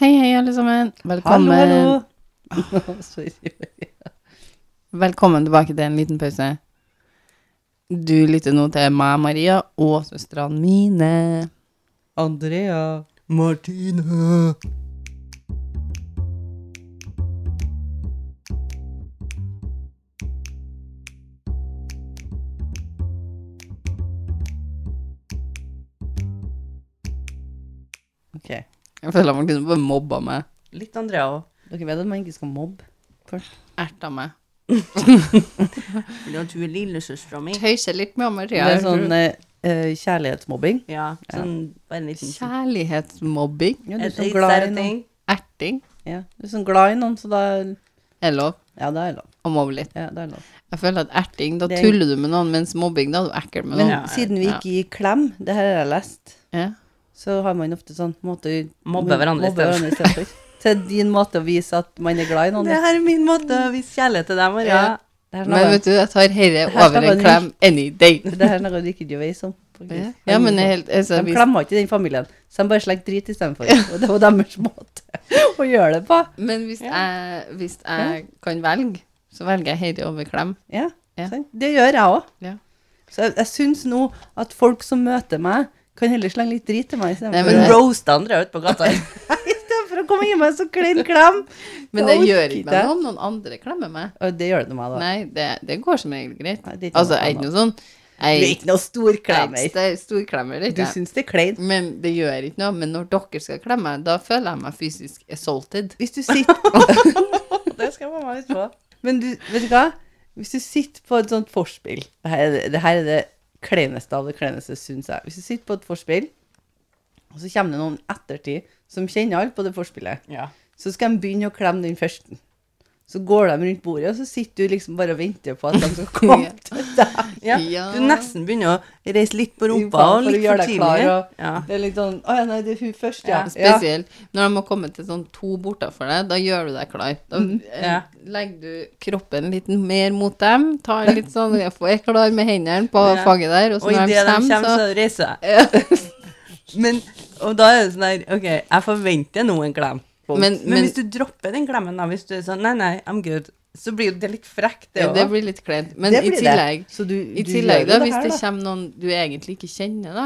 Hei, hei, alle sammen. Velkommen, Hallo, hallo! Sorry. velkommen tilbake til en liten pause. Du lytter nå til meg, Maria, og søstrene mine. Andrea. Martine. Ok. Jeg føler man kunne bare mobba meg. Litt Andrea òg. Dere vet at man ikke skal mobbe? Erta meg. Fordi at hun er lillesøstera mi. Tøyse litt med Maria. Det er sånn eh, eh, kjærlighetsmobbing. Ja, sånn bare en liten eh, Kjærlighetsmobbing. Ja, du er Is sånn that glad a i noen. thing? Erting. Ja, du er sånn glad i noen, så da Er lov Ja, det er lov. å mobbe litt. Ja, det er lov. Jeg føler at erting, da Det- tuller du med noen, mens mobbing, da er du ekkel med Men noen. siden vi ikke gir klem, det her har jeg lest, Ja. så har man ofte sånn måte Mobbe hverandre i mobbe stedet. hverandre i stedet for. Så det er din måte å vise at man er glad i noen. Det her er min måte å vise kjærlighet til deg, Maria. Ja. Det her er Men noe- vet du, jeg tar herre Her over skal en man- klem any day. det her er noe du ikke du vet om. faktisk. Ja, men jeg er helt altså, De hvis- klemmer ikke den familien, så de bare slenger drit istedenfor. Og det var deres måte å gjøre det på. Men hvis, Ja. jeg, hvis jeg kan velge, så velger jeg Heidi over Klem. Ja, Ja. sant? Det gjør jeg òg. Ja. Så jeg, jeg syns nå at folk som møter meg, kan heller slenge litt drit til meg Nei, istedenfor men Men det- å- roast Andrea ute på gata. istedenfor å komme og gi meg en så klein klem. Men det Jeg orker gjør ikke det. noe om noen andre klemmer meg. Og det gjør det til meg, da. Nei, det, det går som regel greit. Nei, det er ikke Altså, noe jeg er annet. ikke noe sånn Du er Jeg ikke noe stor jeg klemmer. er ikke storklemmer, det er Du ikke jeg. syns det er kleint. Men det gjør ikke noe. Men når dere skal klemme, da føler jeg meg fysisk assaulted. Hvis du sitter det skal mamma huske på. Men du, vet du hva? Hvis du sitter på et sånt forspill Det her er det, det, her er det kleineste av det kleineste, syns jeg. Hvis du sitter på et forspill, og så kommer det noen ettertid som kjenner alle på det forspillet, Ja. så skal de begynne å klemme den første. Så går de rundt bordet, og så sitter du liksom bare og venter på at de skal komme til deg. Ja. Ja. Du nesten begynner å reise litt på rumpa For å og litt gjøre for deg klar, tidlig. og- Ja. Det er litt sånn Å ja, nei, det er hun først, ja. Ja, ja. Spesielt når de har kommet til sånn to bortafor deg, da gjør du deg klar. Da Mm, eh, ja. legger du kroppen litt mer mot dem, tar litt sånn Jeg er klar med hendene på Ja. faget der, og så Og når idet de de kommer, kommer, så så reiser jeg. Ja. Men, og da er det sånn der OK, jeg forventer nå en klem. Men- Men, men- hvis du dropper den klemmen, da, hvis du er sånn Nei, nei, I'm good, så blir jo det litt frekt, det Ja, òg. det blir litt kleint. Men Det i blir det. tillegg, Så du- i du tillegg gjør jo da, det hvis her, det da. kommer noen du egentlig ikke kjenner, da,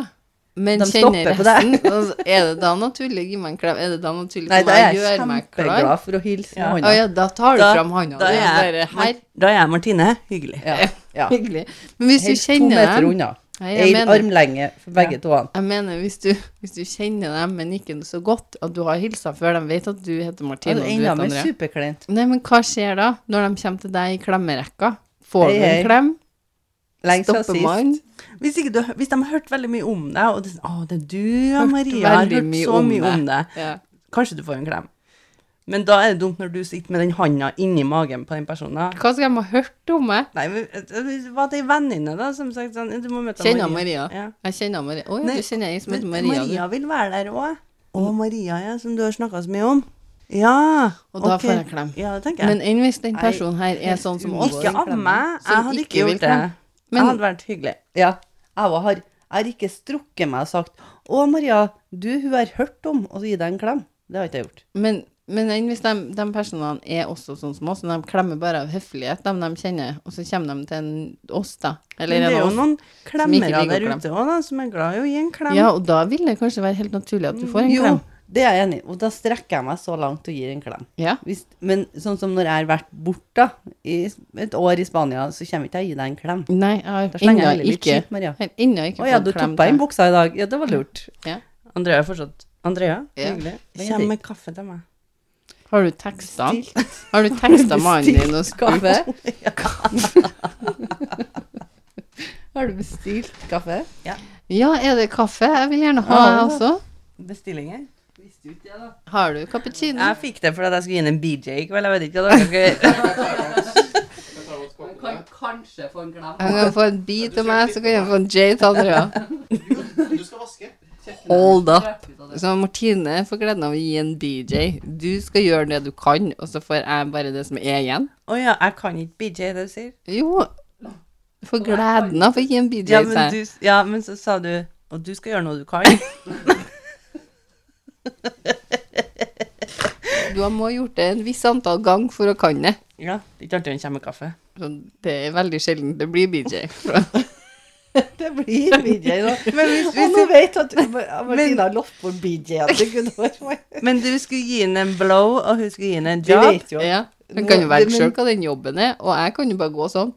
men De kjenner stopper på deg. resten, så er det da naturlig å gi meg en klem? Er det da naturlig Nei, for da meg er å jeg gjøre meg klar? kjempeglad for å hilse med Ja. Å hånda. ja, da tar du Da- fram hånda da di. er jeg- Bare her. Da er jeg Martine. Hyggelig. Ja. ja. Hyggelig. Men hvis du Helst to kjenner meter dem unna. Nei, jeg Ei mener, armlenge for begge tåene. jeg mener hvis, du, hvis du kjenner dem, men ikke så godt, at du har hilsa før de vet at du heter Ja, Martine det og du enda heter mer Andrea. superkleint. Nei, men hva skjer da, når de kommer til deg i klemmerekka? Får Hei, du en hei. klem? Lenge siden Stopper sist. man? Hvis, ikke du, hvis de har hørt veldig mye om deg, og det er sånn, å, det er du, ja, Hørt Maria, jeg har veldig hørt mye så om mye deg. om deg, Ja. kanskje du får en klem. Men da er det dumt når du sitter med den handa inni magen på den personen. da. Hva skal de ha hørt om meg? Nei, men eh, var det ei venninne, da, som sagt sånn, du må møte Kjenner Maria. Maria. Ja. Jeg kjenner Maria. Å ja, Nei, du kjenner ei som Men heter Maria. du. Mm. Maria vil være der òg. Å, Maria, ja, som du har snakka så mye om. Ja. Og da ok. får jeg klem. Ja, det tenker jeg. Men enn hvis den personen her er sånn som oss? ikke av meg. Jeg Som hadde ikke ikke vil gjort det. klem. Men- Jeg hadde vært hyggelig. Ja, jeg også har, jeg har ikke strukket meg og sagt, å Maria, du, hun har hørt om, og så gi deg en klem. Det har ikke jeg gjort. Men, men enn hvis de, de personene er også sånn som oss, og de klemmer bare av høflighet, dem de kjenner, og så kommer de til en, oss, da? Men Eller det er en av jo oss? noen ikke klemmere liker å der klemme. ute òg, som er glad i å gi en klem. Ja, og da vil det kanskje være helt naturlig at du får en Jo, klem? det er jeg enig i, og da strekker jeg meg så langt og gir en klem. Ja. Hvis, men sånn som når jeg har vært borte i et år i Spania, så kommer ikke jeg å gi deg en klem. Nei, jeg har Da slenger jeg ennå heller litt ikke skitt, Maria. jeg har Ennå ikke Å ja, du tok deg en buksa i dag. Ja, det var lurt. Andrea er fortsatt Andrea, Ja. hyggelig. Ja. Kjem med kaffe til meg. Har du teksta? Har du teksta mannen din og spurt Kaffe? Har du bestilt kaffe? Ja, er det kaffe? Jeg vil gjerne ha, Ja, jeg ja. også. Bestillinger? Har du cappuccino? Jeg fikk det fordi at jeg skulle gi inn en BJ i kveld. Jeg vet ikke hva dere skal gjøre. Kan kanskje få en klem. Han kan få en bit til meg, så kan jeg få en J til Andrea. Du skal vaske. Hold up. Så Martine får gleden av å gi en BJ. Du skal gjøre det du kan, og så får jeg bare det som er igjen. Å ja, jeg kan ikke BJ, det du sier. Jo, du får gleden av å gi en BJ, Ja sa men, jeg. du, ja, men så sa du Og du skal gjøre noe du kan. Du må ha gjort det en viss antall ganger for å kan det. Ja, det er ikke alltid han kommer med kaffe. Så det er veldig sjelden det blir BJ. Det blir BJ nå. Men hvis, hvis du vet at Mar- Martina har lovt bort BJ-en til Gunvor Men du skulle gi henne en blow, og hun skulle gi henne en Vi job. vet jo. Ja. Man kan jo velge Men- sjøl hva den jobben er, og jeg kan jo bare gå sånn.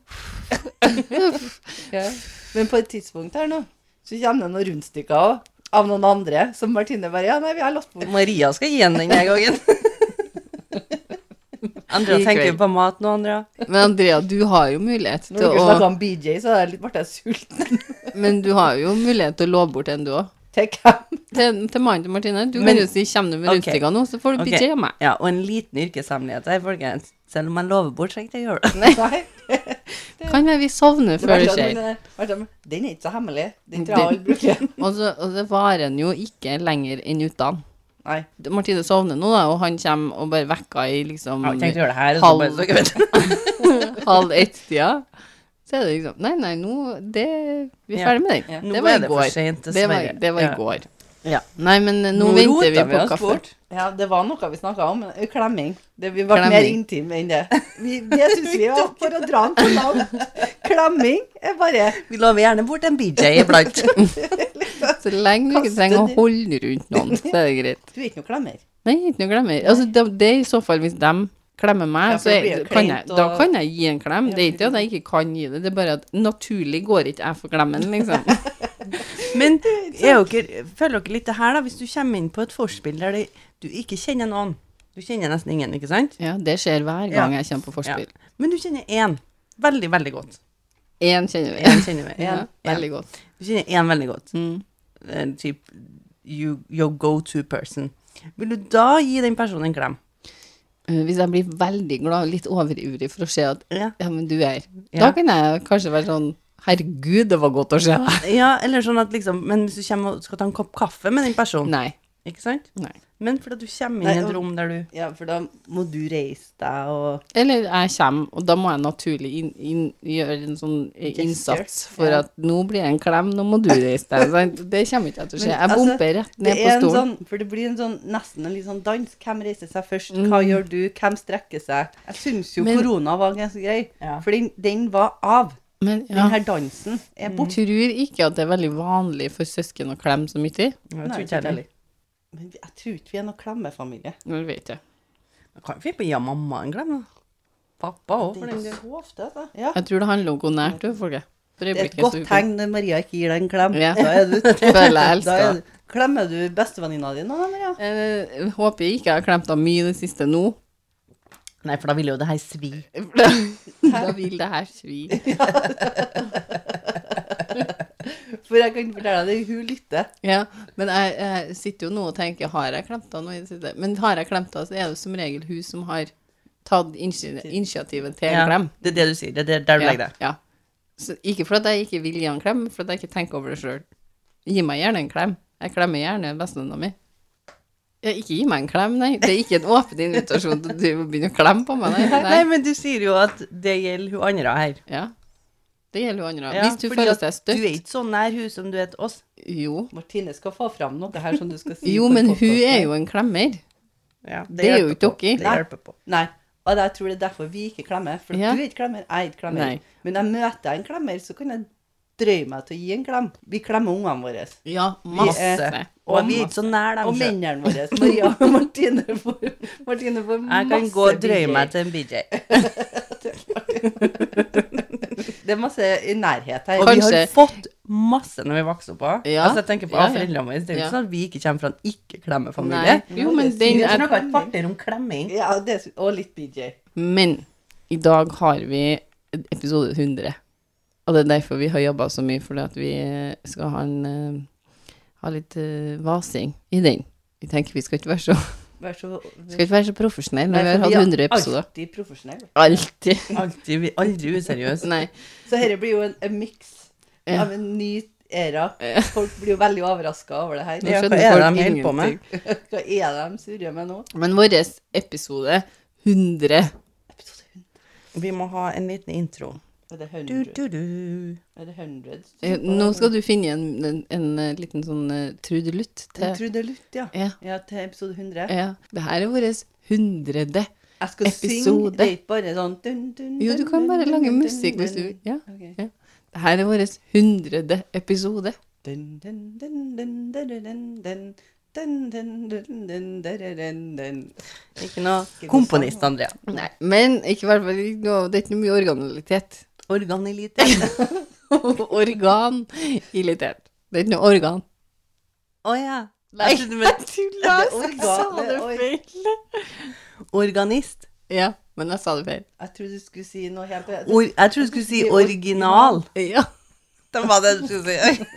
Ja. Men på et tidspunkt her nå, så kommer det noen rundstykker også, av noen andre, som Martine bare Ja, nei, vi har lovt bort Maria skal gi henne den denne gangen. Andrea I tenker kveld. på mat nå, Andrea. Men Andrea, du har jo mulighet Når til dere snakker å om BJ, så er jeg litt- ble jeg sulten. Men du har jo mulighet til å love bort en, du òg. Til hvem? Til, til mannen til Martine. Du Men- kan jo si 'kommer du med Ok. rundstykka nå', så får du Ok. BJ av meg. Ja, og en liten yrkeshemmelighet her, folkens. Selv om jeg lover bort, så er ikke jeg gjør det. Nei. eh, Kan være vi sovner før det skjer. sånn. Den er ikke så hemmelig. Den tror jeg alle bruker. Og så, og så varer den jo ikke lenger enn utan. Nei. Martine sovner nå, da, og han kommer og bare vekker i liksom Jeg har tenkt å gjøre det her, og så Halv- bare, så dere vet. halv ett-tida. Så er det liksom Nei, nei, nå det, Vi er Ja. ferdig med den. Ja. Nå Det var er i det for går. sent, Det var, dessverre. det var i Ja. går. Ja. Nei, men eh, nå, venter vi roter på oss kaffe. bort. Ja, det var noe vi snakka om. men Klemming. Det, vi ble mer Klemming. intime enn det. Vi, det syns vi var for å dra den på langt. Klemming er bare Vi lover gjerne bort en BJ iblant. Så lenge du ikke Kaste trenger å det. holde rundt noen, så er det greit. Du er ikke noe klemmer. Nei, ikke noe glemmer. Altså, det, det er i så fall hvis de klemmer meg, Ja, for så det er, blir jo kan jeg, kleint, da og- kan jeg gi en klem. Ja, Det er ikke at jeg ikke kan gi det, det er bare at naturlig går ikke jeg for klemmen, liksom. Men er dere, føler dere litt det her, da, hvis du kommer inn på et forspill der det, du ikke kjenner noen. Du kjenner nesten ingen, ikke sant? Ja, det skjer hver gang jeg kommer på forspill. Men du kjenner én veldig, veldig godt. Én kjenner vi. Én kjenner vi. Ja, En. veldig godt. Du kjenner én veldig godt. Mm. En typ you, your go to person. Vil du da gi den personen en klem? Eh, Hvis jeg blir veldig glad, litt overivrig for å se at Ja. ja, men du er her, da Ja. kan jeg kanskje være sånn herregud, det var godt å se deg. ja, eller sånn at liksom Men hvis du kommer og skal ta en kopp kaffe med den personen, Nei. ikke sant? Nei. Men fordi du kommer Nei, inn i et og- rom der du Ja, for da må du reise deg og Eller jeg kommer, og da må jeg naturlig inn, inn, gjøre en sånn eh, Gesture, innsats for ja. at nå blir det en klem, nå må du reise deg. sant? Det kommer ikke jeg til å skje. Men, Jeg altså, bomper rett det ned på er en stolen. sånn, For det blir en sånn, nesten en litt sånn dans. Hvem reiser seg først? Hva gjør du? Hvem strekker seg? Jeg syns jo Men- korona var ganske grei, Ja. for den, den var av. Men Den ja, her dansen er jeg borte. tror ikke at det er veldig vanlig for søsken å klemme så mye. Jeg Nei, tror ikke ikke heller. heller. Men vi- jeg tror ikke vi er noen klemmefamilie. Nå vet jeg. Kan vi gi mamma en klem, da? Pappa òg, for den del. så ofte, altså. Ja. Jeg tror det handler om hvor nært du er folk. For Det er et øyeblikket godt så- tegn når Maria ikke gir deg en klem. Ja. Da er du, Føler jeg elsker. da er du, klemmer du bestevenninna di nå, da, Maria? Eh, jeg håper jeg ikke jeg har klemt av mye i det siste nå. Nei, for da vil jo det her svi. Da vil det her svi. For jeg kan fortelle deg det, hun lytter. Ja, men jeg, jeg sitter jo nå og tenker Har jeg klemt av noe i det siste? Men har jeg klemt av, så er det som regel hun som har tatt initi- initiativet til en Ja, klem. Det er det du sier. Det er der- der du Ja, legger deg. ja. Så ikke fordi jeg ikke vil gi han en klem, men fordi jeg ikke tenker over det sjøl. Gi meg gjerne en klem. Jeg klemmer gjerne bestevenninna mi. Ja, ikke gi meg en klem, nei. Det er ikke en åpen invitasjon til du å begynne å klemme på meg. Nei. Nei, nei. men du sier jo at det gjelder hun andre her. Ja. Det gjelder jo andre. Ja, Hvis du fordi føler deg at Du er støtt ikke så nær hun som du er til oss. Jo. Martine skal få fram noe her som du skal si. Jo, på men hun podcasten. er jo en klemmer. Ja, Det er jo hjelper ikke på. dere. Det Nei. hjelper på. Nei. Og jeg tror det er derfor vi ikke klemmer. For Ja. du er ikke klemmer, jeg er ikke klemmer. Nei. Men når jeg møter en klemmer, så kan jeg drøye meg til å gi en klem. Vi klemmer ungene våre. Ja, Masse. masse. Og vi er ikke så nær dem. Og selv. mennene våre. Maria og Martine får, Martine får masse Jeg kan gå og drøye bilder. meg til en BJ. Det er masse i nærhet her. Og vi har Kanskje- fått masse når vi vokser opp òg. Ja. Altså, jeg tenker på ja, Ja, ja. foreldrene våre. Det er jo Ja. ikke sånn at vi ikke kommer fra en ikke-klemmefamilie. Nei. Jo, men det den Vi er snakker et kvarter om klemming. Ja, det, er- og litt BJ. Men i dag har vi episode 100. Og det er derfor vi har jobba så mye, fordi at vi skal ha, en, eh, ha litt eh, vasing i den. Vi tenker vi skal ikke være så, Vær så skal ikke være så profesjonelle når vi Nei, har for hatt 100 episoder. alltid profesjonelle. Alltid. Alltid, vi- aldri useriøs. Nei. Så dette blir jo en, en miks Ja. av en ny era. Folk blir jo veldig overraska over det her. Nå Ja, hva skjønner er det folk de holder på med? ingenting. Hva er det de surrer med nå? Men vår episode 100 Episode 100. Vi må ha en liten intro. Er det Du, 100? du, du. Er det 100? eh, Nå skal du finne en, en, en eh, liten sånn eh, trudelutt Jeg til tror det er lutt, ja. ja, Ja, til episode 100. ja. Det her er vår hundrede. Jeg skal synge, Episode. det er ikke bare sånn dun, dun, Jo, du dun, kan dun, bare dun, lage dun, musikk dun, hvis du dun. Ja. Ok. ja. Det her er vår hundrede episode. Dun, dun, dun, dun, dun, dun, dun, dun, dun, dun, dun, dun, dun, dun. Ikke noe Komponist, Andrea. Nei, men ikke i hvert fall ikke noe, det er ikke noe mye originalitet. Organelite. Organilitet. Det er ikke noe organ. Å ja. Nei, Jeg trodde du mente tulla! Det er organ, det er or- feil. organist. Ja, men jeg sa det feil. Jeg trodde du skulle si noe helt Or jeg trodde du skulle si original. Ja. Det var det du skulle si.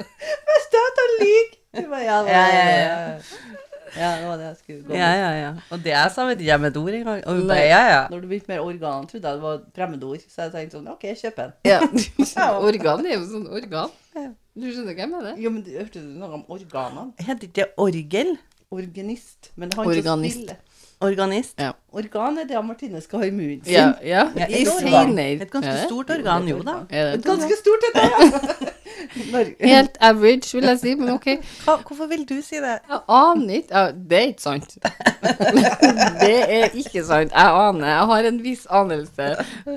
Beste at han lyver! Det var jeg, det var Ja, ja, jeg, ja. ja. Ja, det var det jeg skulle gå med. Ja, ja, ja. Og det jeg sa, vet ikke jeg med et ord engang. Og hun Nei. bare, Ja, ja. Når du begynte med organ, trodde jeg det var fremmedord. Så jeg tenkte sånn, ok, kjøp en. ja. Organ er jo sånn organ. Du skjønner hva jeg mener? Jo, men du- hørte du noe om organene? Heter ikke det orgel? Organist. Men det har ikke å Organist. spille. Organist? Organ er det Martine skal ha i munnen sin. Ja. ja. Ja, I et organ. seiner. Et ganske Er det? stort organ, jo da. Er det Et et organ? ganske stort et, ja. Norge. Helt average, vil jeg si, men ok. Hva, hvorfor vil du si det? Jeg aner ikke ja, Det er ikke sant. Det er ikke sant. Jeg aner. Jeg har en viss anelse,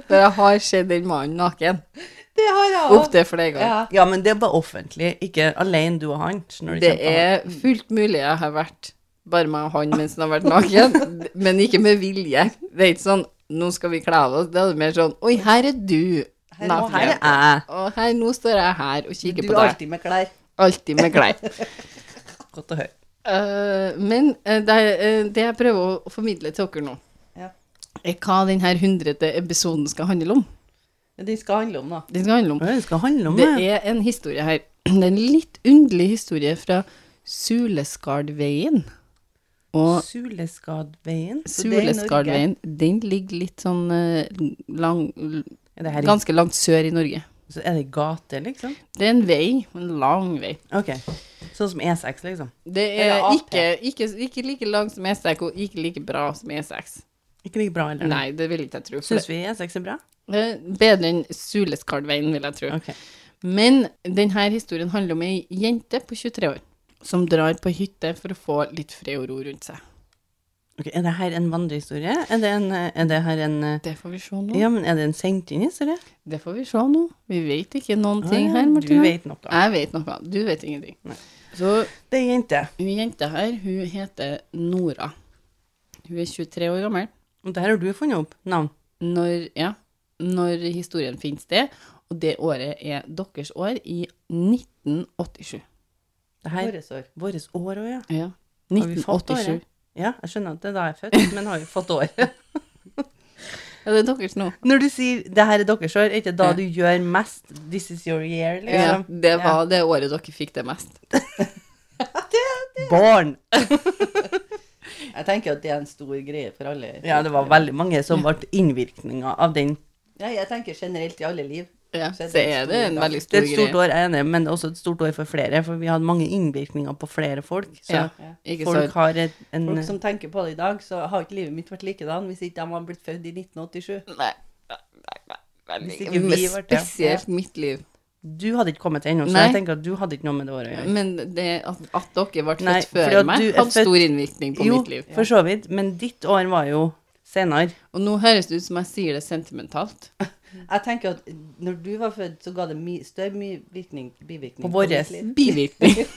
for jeg har sett den mannen naken Det har jeg også. opptil flere ganger. Ja. Ja, men det er bare offentlig, ikke alene du og han. skjønner du Det kjemper han. er fullt mulig jeg har vært bare med han mens han har vært naken, men ikke med vilje. Det er ikke sånn 'nå skal vi kle av oss'. Det er mer sånn 'oi, her er du Her- naken'. Her er jeg. Og her, nå står jeg her og kikker Du på er deg. alltid med klær. Alltid med klær. Godt å høre. Eh, men eh, det, eh, det jeg prøver å- å formidle til dere nå, Ja. er Eh, hva denne hundrede episoden skal handle om. Men Det skal handle om, da. Den skal handle om. Hva er det det skal handle om? Det det? er en historie her. Det er en litt underlig historie fra Suleskardveien. Og Suleskadveien? Så det er i Norge. Suleskardveien, den ligger litt sånn eh, lang, Er det, her i, ganske langt sør i Norge. så er det i gate, liksom? Det er en vei, en lang vei. Ok. Sånn som E6, liksom? Det Eller er AP. ikke, ikke, ikke like lang som E6 og ikke like bra som E6. Ikke like bra, eller? Nei, det vil ikke jeg tro. for Syns vi E6 er bra? det er Bedre enn Suleskardveien, vil jeg tro. Ok. Men denne historien handler om ei jente på 23 år som drar på hytte for å få litt fred og ro rundt seg. Ok, Er det her en vandrehistorie? Er det, en, eh, er det her en eh, Det får vi se nå. Ja, men er det en sendt inn historie? Det får vi se nå. Vi vet ikke noen ting Ah, her, Du Martina. vet noe. Jeg vet noe. Du vet ingenting. Nei. Så Det er ei jente. Hun jenta her, hun heter Nora. Hun er 23 år gammel Og der har du funnet opp navn. når, ja, når historien finner sted, og det året er deres år i 1987. Det her Våre sår. Vårt år òg, ja. Ja, Har vi fått 1987. året? Ja, jeg skjønner at det er da jeg er født, men har jo fått år. Ja, det er deres nå. Når du sier 'det her er deres år', er ikke da Ja. du gjør mest 'this is your year'? Ja, Liksom? det var det året dere fikk det mest. Barn! Jeg tenker at det er en stor greie for alle. Ja, det var veldig mange som ble innvirkninger av den. Nei, jeg tenker generelt i alle liv. Ja, Så så det er er det stor en dag. veldig Det stor er et stort greie. år, jeg er enig, men det er også et stort år for flere, for vi hadde mange innvirkninger på flere folk. Så Ja, Ja. ikke altså. folk sant? har et, en Folk som tenker på det i dag, så har ikke livet mitt vært likedan hvis ikke de hadde blitt født i 1987. Nei, nei, nei, veldig Hvis ikke vi ble det. Spesielt mitt liv. Du hadde ikke kommet ennå, så Nei. jeg tenker at du hadde ikke noe med det året å gjøre. Men det at, at dere ble Nei, født fordi før at meg, du er hadde stor født- innvirkning på Jo, mitt liv. for så vidt, men ditt år var jo senere. Og nå høres det ut som jeg sier det sentimentalt. Jeg tenker at når du var født, så ga det my større my virkning, bivirkning. På våres. mitt liv. Bivirkning.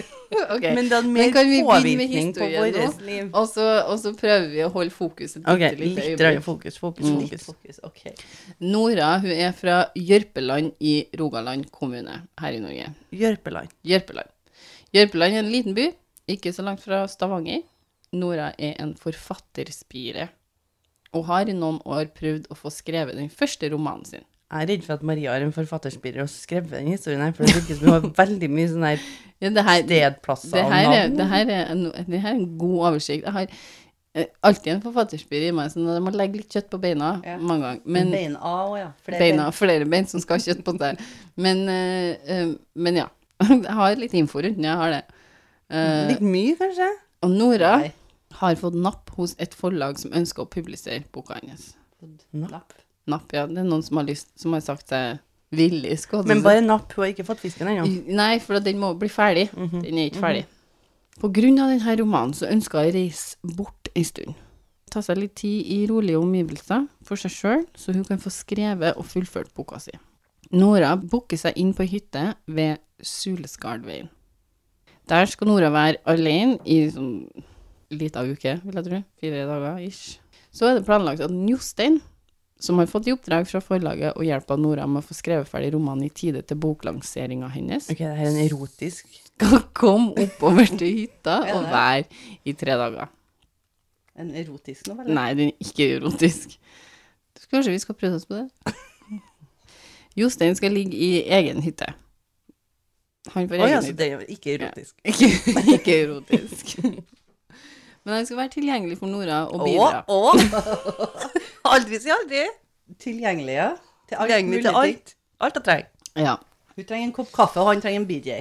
ok. Men det hadde Men mer kan vi begynne med påvirkning på historien nå? vårt liv. Og så, og så prøver vi å holde fokuset et Ok, bitte lite litt øyeblikk. grann fokus, fokus, Litt Mm. fokus. fokus, ok. Nora hun er fra Jørpeland i Rogaland kommune her i Norge. Jørpeland. Jørpeland. Jørpeland er en liten by, ikke så langt fra Stavanger. Nora er en forfatterspire og har i noen år prøvd å få skrevet den første romanen sin. Jeg er redd for at Maria har en forfatterspirer og skrevet den historien her, for det virker som hun har veldig mye sånn her Ja, det her, stedplasser Det og her, er, navn. det, her er en, det her er en god oversikt. Jeg har eh, alltid en forfatterspyr i meg, så jeg må legge litt kjøtt på beina Ja. mange ganger. Men Bein A også, ja. Flere beina, flere bein som skal ha kjøtt på seg. Men, eh, eh, men ja. Jeg har litt info rundt den, jeg har det. Eh, Litt mye, kanskje? og Nora Nei. har fått napp hos et forlag som ønsker å publisere boka hennes. bein. Napp. Napp, ja. Det er noen som har, lyst, som har sagt seg villig. skal du Men si. bare napp, hun har ikke fått fisken ennå. I- Nei, for at den må bli ferdig. Mhm. Den er ikke ferdig. På grunn av denne romanen så ønska jeg å reise bort en stund. ta seg litt tid i rolige omgivelser for seg sjøl, så hun kan få skrevet og fullført boka si. Nora booker seg inn på ei hytte ved Suleskardveien. Der skal Nora være alene i sånn lita uke, vil jeg tro. Fire dager ish. Så er det planlagt at Jostein, som har fått i oppdrag fra forlaget å hjelpe Nora med å få skrevet ferdig romanen i tide til boklanseringa hennes, Ok, det her er en erotisk skal komme oppover til hytta og være i tre dager. En erotisk novelle. Nei, den er ikke erotisk. Så Kanskje vi skal prøve oss på det? Jostein skal ligge i egen hytte. Han får Oi, egen altså, hytte. det er jo ikke erotisk. Ikke, ikke erotisk. Men han skal være tilgjengelig for Nora og bidra. Å, å! Aldri si aldri. Tilgjengelig, ja. Til alt Tilgjengelig til mulig ting. alt. Alt jeg trenger. Ja. Hun trenger en kopp kaffe, og han trenger en BJ.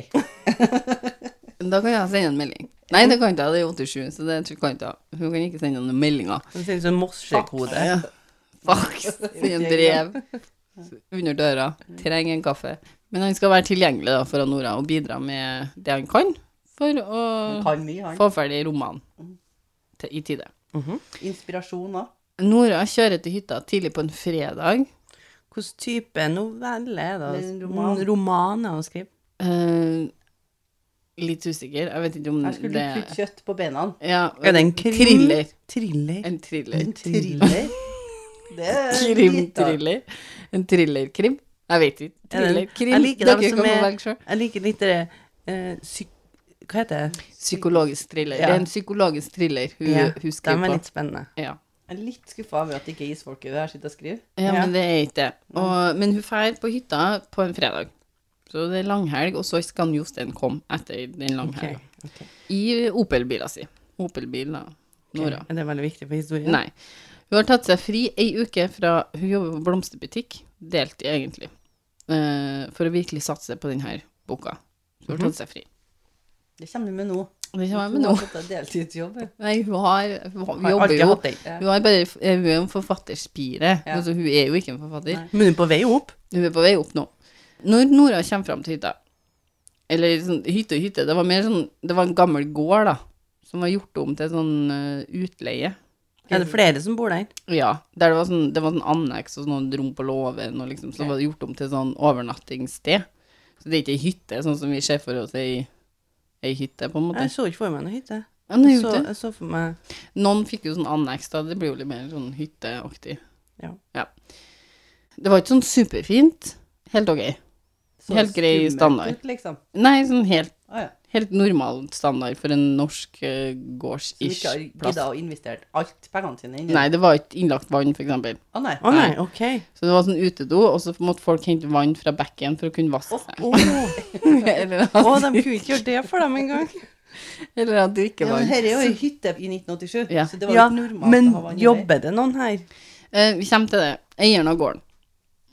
Da kan jeg sende en melding. Nei, det kan ikke jeg. Det er 87, så det kan ikke jeg. Hun kan ikke sende noen meldinger. Det ser ut som morsekode. Ja. Fax. Send en brev under døra. Trenger en kaffe. Men han skal være tilgjengelig da, for Nora og bidra med det han kan for å Han kan mye, han. få ferdig romanen til- i tide. Inspirasjon òg. Nora kjører til hytta tidlig på en fredag. Hvilken type novelle er det? Det er en roman. En roman er det å skrive. Eh, litt usikker. Jeg vet ikke om Her skulle du putte Mm, det kjøtt på beina. ja, Er det en krim? Thriller. Thriller. En thriller. En thriller. Det er litt av- Krim-thriller. En thrillerkrim? Jeg vet ikke. Thriller. Krim. Jeg liker Dere dem som kan få er velge selv. Jeg liker litt det eh, psyk... Hva heter det? Psykologisk thriller. Ja. Det er en psykologisk thriller hun, Ja, hun De skriver er på. litt spennende. Ja. Jeg er litt skuffa over at det ikke er isfolk over her sitter og skriver. ja, Ja. men det er ikke det. Og, men hun drar på hytta på en fredag. Så det er langhelg, og så skal Jostein komme etter den langhelga. ok. I Opel-bila si. Opel-bil, da. Nora. Er det veldig viktig for historien? Nei. Hun har tatt seg fri ei uke fra hun jobber på blomsterbutikk, deltid egentlig, eh, for å virkelig satse på denne boka. Så Hun har Mhm. tatt seg fri. Det kommer du med nå. Det kommer jeg med Hun nå. har fått deg deltidsjobb. jeg. Nei, hun har Hun Har jobber alltid jo hatt det. Ja. Hun er, bare, hun er jo en forfatterspire. Ja. Altså, hun er jo ikke en forfatter. Nei. Men hun er på vei opp. Hun er på vei opp nå. Når Nora kommer fram til hytta Eller sånn, hytte og hytte, det var mer sånn Det var en gammel gård, da, som var gjort om til sånn eh, utleie. Er det flere som bor der? Ja. Der det var sånn, det var sånn anneks og sånn rom på låven, og liksom, så var det gjort om til sånn overnattingssted. Så det er ikke ei hytte, sånn som vi ser for oss ei, ei hytte, på en måte. Jeg så ikke for meg noen hytte. Ja, det er Jeg jo så, det. jeg så for meg Noen fikk jo sånn anneks, da. Det blir jo litt mer sånn hytteaktig. Ja. Det var ikke sånn superfint. Helt ok. Så Helt grei skummelt standard. Ut, liksom. Nei, sånn helt, Å ja. helt normal standard for en norsk eh, Som ikke har gårds-ish plass. gidda å investere alt pengene sine inn i Nei, det var ikke innlagt vann, for eksempel. Å nei. Å nei, OK. Så det var sånn utedo, og så måtte folk hente vann fra bekken for å kunne vaske seg. Å, eller, Å, at, de kunne ikke gjort det for dem engang. eller at Ja, men drikkevann. Dette er jo ei hytte i 1987, Ja. så det var jo Ja, ikke normalt men å ha vann i det. jobber det noen her? Eh, vi kommer til det. Eieren av gården.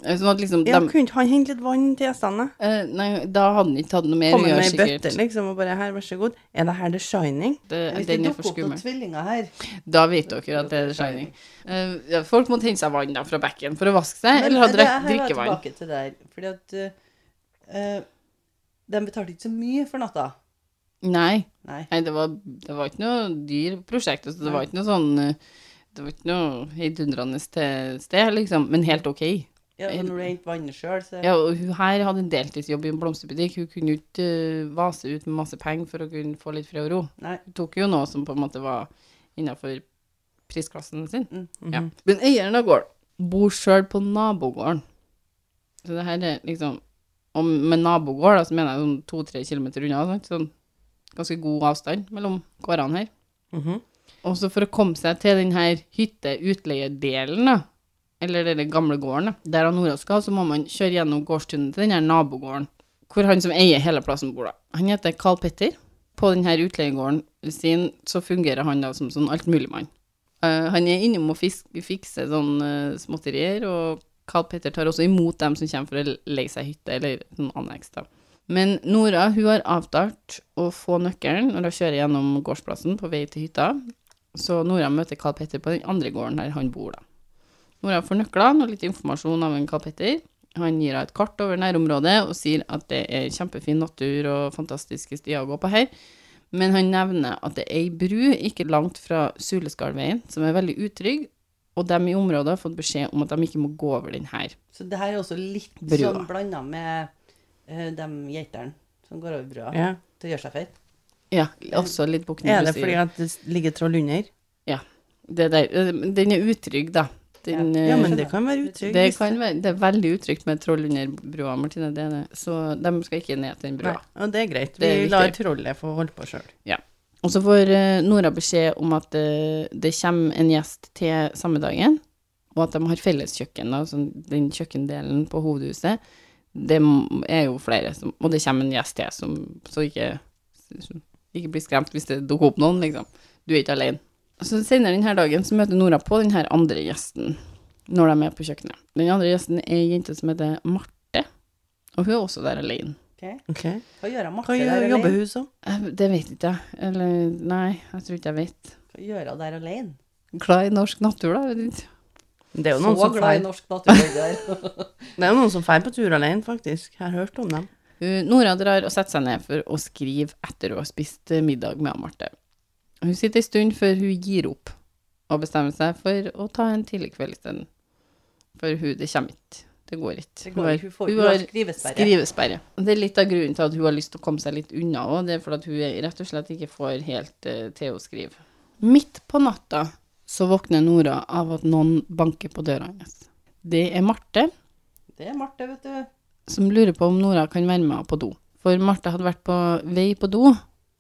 Eh, Sånn at liksom Ja, dem- kunne ikke han hente litt vann til gjestene? eh, Nei, da hadde han ikke hatt noe mer å Komme gjøre, med ei sikkert. bøtte, liksom, og bare Her, vær så god. Er det her The Shining? Det, Hvis det den er dukker for opp noen skummel. tvillinger her Da vet dere at det er The Shining. Eh, ja, folk måtte hente seg vann da, fra bekken for å vaske seg, Men eller ha det drek- her var drikkevann. tilbake til der, fordi at eh, eh, de betalte ikke så mye for natta. Nei. Nei. Nei, det var, det var ikke noe dyr prosjekt. Altså, det var ikke noe sånn eh, Det var ikke noe heidundrende te- sted, liksom, men helt ok. Ja, og når du henter vannet sjøl, så Ja, og hun her hadde en deltidsjobb i en blomsterbutikk. Hun kunne jo ikke eh, vase ut med masse penger for å kunne få litt fred og ro. Nei. Hun tok jo noe som på en måte var innafor prisklassen sin. Mm. Mhm. Ja. Men eieren av gården bor sjøl på nabogården. Så det her er liksom Og med nabogård da, så mener jeg sånn to-tre kilometer unna. Sant? Sånn ganske god avstand mellom gårdene her. Mhm. Og så for å komme seg til den her hytte-utleiedelen, da, eller den gamle gården, da, der han Nora skal, så må man kjøre gjennom gårdstunet til den her nabogården, hvor han som eier hele plassen bor da. Han heter Carl Petter. På den her utleiegården sin så fungerer han da som sånn altmuligmann. Eh, han er innom og fisk, fikser sånn eh, småtterier, og Carl Petter tar også imot dem som kommer for å leie seg hytte, eller sånn anneks da. Men Nora, hun har avtalt å få nøkkelen når hun kjører gjennom gårdsplassen på vei til hytta, så Nora møter Carl Petter på den andre gården der han bor, da. Nora får nøklene og litt informasjon av en Carl Petter. Han gir henne et kart over nærområdet og sier at det er kjempefin natur og fantastiske stier å gå på her, Men han nevner at det er ei bru ikke langt fra Suleskarveien som er veldig utrygg, og de i området har fått beskjed om at de ikke må gå over den her. Så det her er også litt Brua. sånn blanda med eh, de geitene som går over brua Ja. til å gjøre seg feit. Ja, også litt bukken Er det fordi at det ligger troll under? det der, eh, Den er utrygg, da. Den, Ja, eh, men det kan være utrygt. det, kan være, det er veldig utrygt med troll under brua, Martine. Det er det. Så de skal ikke ned til den brua. Og det er greit. Det er Vi lar viktig. trollet få holde på sjøl. Og så får eh, Nora beskjed om at eh, det kommer en gjest til samme dagen, og at de har felleskjøkken, da, sånn den kjøkkendelen på hovedhuset. Det m- er jo flere, som, og det kommer en gjest til, som, så ikke, så ikke bli skremt hvis det dukker opp noen, liksom. Du er ikke alene. Så senere denne dagen så møter Nora på denne andre gjesten, når de er på kjøkkenet. Den andre gjesten er ei jente som heter Marte, og hun er også der alene. Hva gjør hun Hva Marte gjør- der jobber alene? hun som? Eh, Det vet ikke jeg, eller nei, jeg tror ikke jeg vet. Hva gjør hun der alene? glad i norsk natur, da. vet ikke. Det er jo noen Så som glad i feir- norsk natur. det der. det er jo noen som feir på tur alene, faktisk. Jeg har hørt om dem. Hun- Nora drar og setter seg ned for å skrive etter hun har spist eh, middag med Marte. Hun sitter en stund før hun gir opp og bestemmer seg for å ta en tidlig kveld isteden. For hun, det kommer ikke. Det går ikke. Det Hun går har- ikke, Hun får hun hun har har skrivesperre. Skrivesperre. Og Det er litt av grunnen til at hun har lyst til å komme seg litt unna òg. Det er fordi at hun er- rett og slett ikke får helt eh, til å skrive. Midt på natta så våkner Nora av at noen banker på døra hennes. Det er Marte, Det er Marte, vet du. som lurer på om Nora kan være med henne på do. For Marte hadde vært på vei på do,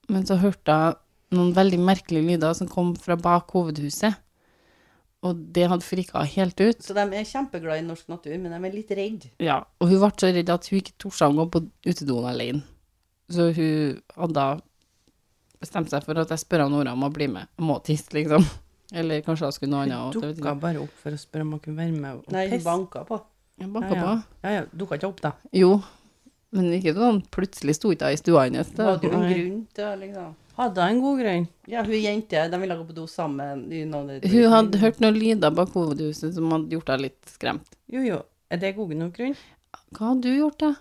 men så hørte hun noen veldig merkelige lyder som kom fra bak hovedhuset. Og det hadde frika henne helt ut. Så de er kjempeglad i norsk natur, men de er litt redde. Ja, og hun ble så redd at hun ikke torde å gå på utedoen alene. Så hun hadde da bestemt seg for at jeg spør Nora om å bli med. Jeg må tisse, liksom. Eller kanskje hun skulle noe Hun annet. og det vet dukka jeg ikke. bare opp for å spørre om hun kunne være med og Nei, hun pisse. banka på. Jeg Ja, banka ja. på. Ja, ja, dukka ikke opp, da. Jo, men ikke sånn plutselig sto ikke hun i stua hennes. Hadde Det- hun en Nei. grunn til å liksom Hadde hun en god grunn. Ja, hun jente, de ville gå på do sammen. i noen- Hun hadde hørt noen lyder bak hovedhuset som hadde gjort henne litt skremt. Jo, jo. Er det god nok grunn? Hva hadde du gjort, da?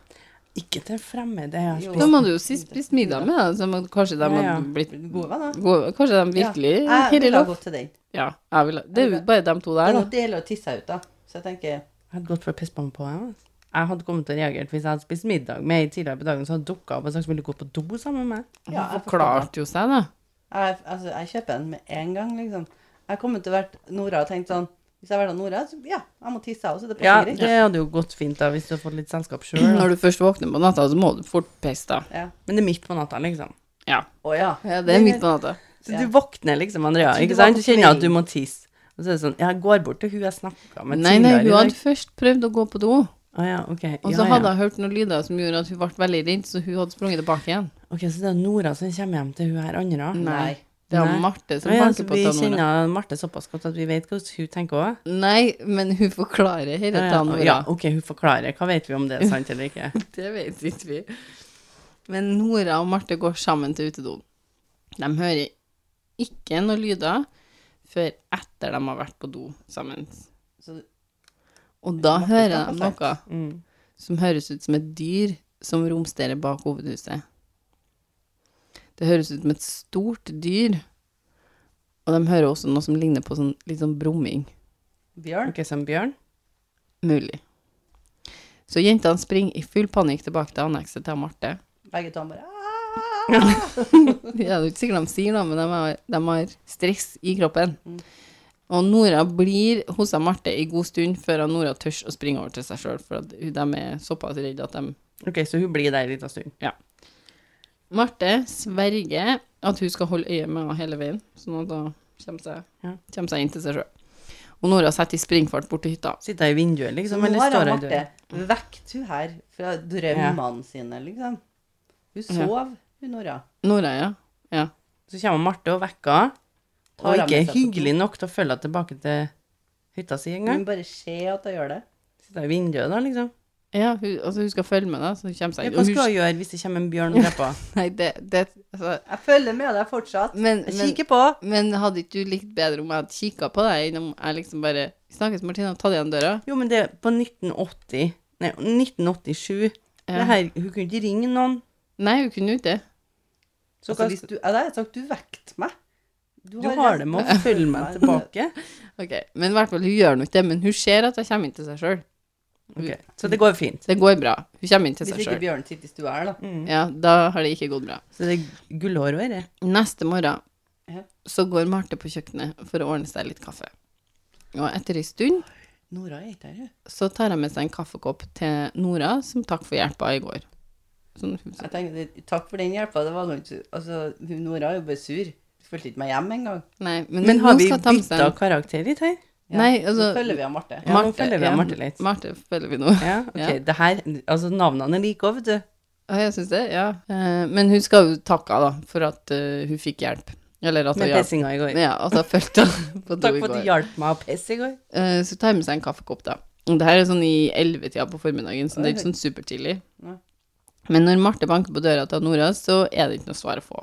Ikke til fremmede. Jeg har Jo. spist. De hadde jo sist spist middag med deg, så man- kanskje de Ja, ja. hadde blitt Gode venner. gode- Kanskje de virkelig Ja, jeg Herre ville ha lov. gått til den. Ja, jeg ville Det er jo bare de to Det der, er da. noe deilig å tisse ut, da. Så jeg tenker Jeg hadde gått for å pisse på meg på henne. altså. Jeg hadde kommet til å reagert hvis jeg hadde spist middag med ei tidligere på dagen som hadde dukka opp og sagt vil du gå på do sammen med meg. Ja, Hun jeg forstår det. forklarte jo seg, da. Jeg, altså, jeg kjøper den med en gang, liksom. Jeg kommer til å være Nora og tenkt sånn Hvis jeg hadde vært Nora, så ja, jeg må tisse, jeg også. Det Ja, passer greit. det hadde jo gått fint da hvis du hadde fått litt selskap sjøl. Når du først våkner på natta, så må du fort pisse, da. Ja. Men det er midt på natta, liksom. Ja. Å ja. det er midt på natta. Så Ja. du våkner liksom, Andrea. Så du ikke sant? var Du på kjenner at vei. du må tisse. Og så er det sånn Jeg går bort til hun jeg snakka med Nei, nei, hun i dag. hadde først prøvd å gå på do, Å ja, ok. og Ja, så ja. hadde hun hørt noen lyder som gjorde at hun ble veldig redd, så hun hadde sprunget tilbake igjen. Ok, Så det er Nora som kommer hjem til hun her andre? Nei. Nei. Det var Nei. Marte som Å ja, banker så på vi tanna. kjenner Marte såpass godt at vi vet hvordan hun tenker òg? Nei, men hun forklarer hele tanna. ja, OK, hun forklarer. Hva vet vi om det er sant eller ikke? Det vet ikke vi. Men Nora og Marte går sammen til utedoen. De hører ikke noen lyder før etter de har vært på do sammen. Så, Og da Marte hører snakker de noe Mm. som høres ut som et dyr som romsterer bak hovedhuset. Det høres ut som et stort dyr, og de hører også noe som ligner på sånn, litt sånn brumming. bjørn. Ok, som bjørn? Mulig. Så jentene springer i full panikk tilbake til annekset til Marte. Begge to bare «Ah!» Det er jo ikke sikkert de sier noe, men de har, de har stress i kroppen. Mm. Og Nora blir hos av Marte i god stund før av Nora tør å springe over til seg sjøl, for at hun- de er såpass redde at de Ok, så hun blir der en liten stund. Marte sverger at hun skal holde øye med henne hele veien, sånn at hun kommer seg, Ja. kommer seg inn til seg sjøl. Og Nora setter i springfart bort til hytta. Sitter hun i vinduet, liksom, Nå eller har står hun hun i Marte døra? vekt hun her fra drømmene sine, liksom. Hun sov, hun Nora. Nora, ja. ja. Så kommer Marte og vekker henne, Tar og henne ikke med er seg på hyggelig nok til å følge henne tilbake til hytta si Hun engang. bare ser at hun gjør det. Sitter hun i vinduet da, liksom. ja hun, altså, hun skal følge med, da, så hun kommer seg Ja, inn. hva Og skal hun, hun gjøre hvis det kommer en bjørn og dreper henne? nei, det, det, altså, Jeg følger med deg fortsatt. men, Jeg men, kikker på. Men hadde ikke du likt bedre om jeg hadde kikka på deg, enn om jeg liksom bare Snakkes, Martina, ta det igjen døra. Jo, men det er på 1980 Nei, 1987. Ja. Det her, hun kunne ikke ringe noen. Nei, hun kunne jo ikke det. Så altså, hva hvis du, ja, da har jeg sagt du vekket meg. Du har det med å følge meg tilbake. Ok, Men i hvert fall, hun gjør nok det, men hun ser at hun kommer inn til seg sjøl. Ok, Så det går fint. Det går bra. Hun kommer inn til Hvis seg ikke sjøl. Bjørn sitter i stua her, da. Ja, da har det ikke gått bra. Så det er gullhår over det. Neste morgen Ja. så går Marte på kjøkkenet for å ordne seg litt kaffe. Og etter ei stund Nora er ikke her, hun. så tar jeg med seg en kaffekopp til Nora, som takk for hjelpa i går. Sånn, Jeg tenkte, Takk for den hjelpa. Det var ganske, altså, hun Nora er jo bare sur. Hun fulgte ikke meg hjem engang. nei, men, Men har hun vi skal ta med seg bytta en- karakter litt her? Ja, Nei, Nå altså følger vi av Marte. Ja, nå følger vi av Marte litt. Marte følger vi nå. Ja, ok. Ja. Det her, altså Navnene er like òg, vet du. Ja, jeg syns det, ja. Eh, Men hun skal jo takke henne, da, for at eh, hun fikk hjelp. Eller at hun Med hjalp. pissinga i går. Ja, at hun fulgte henne på do Takk i for at går. du hjalp meg å pisse i går. Eh, Så tar jeg med seg en kaffekopp, da. Og det her er sånn i 11-tida på formiddagen, så det er ikke sånn supertidlig. Nei. Men når Marte banker på døra til Nora, så er det ikke noe svar å få.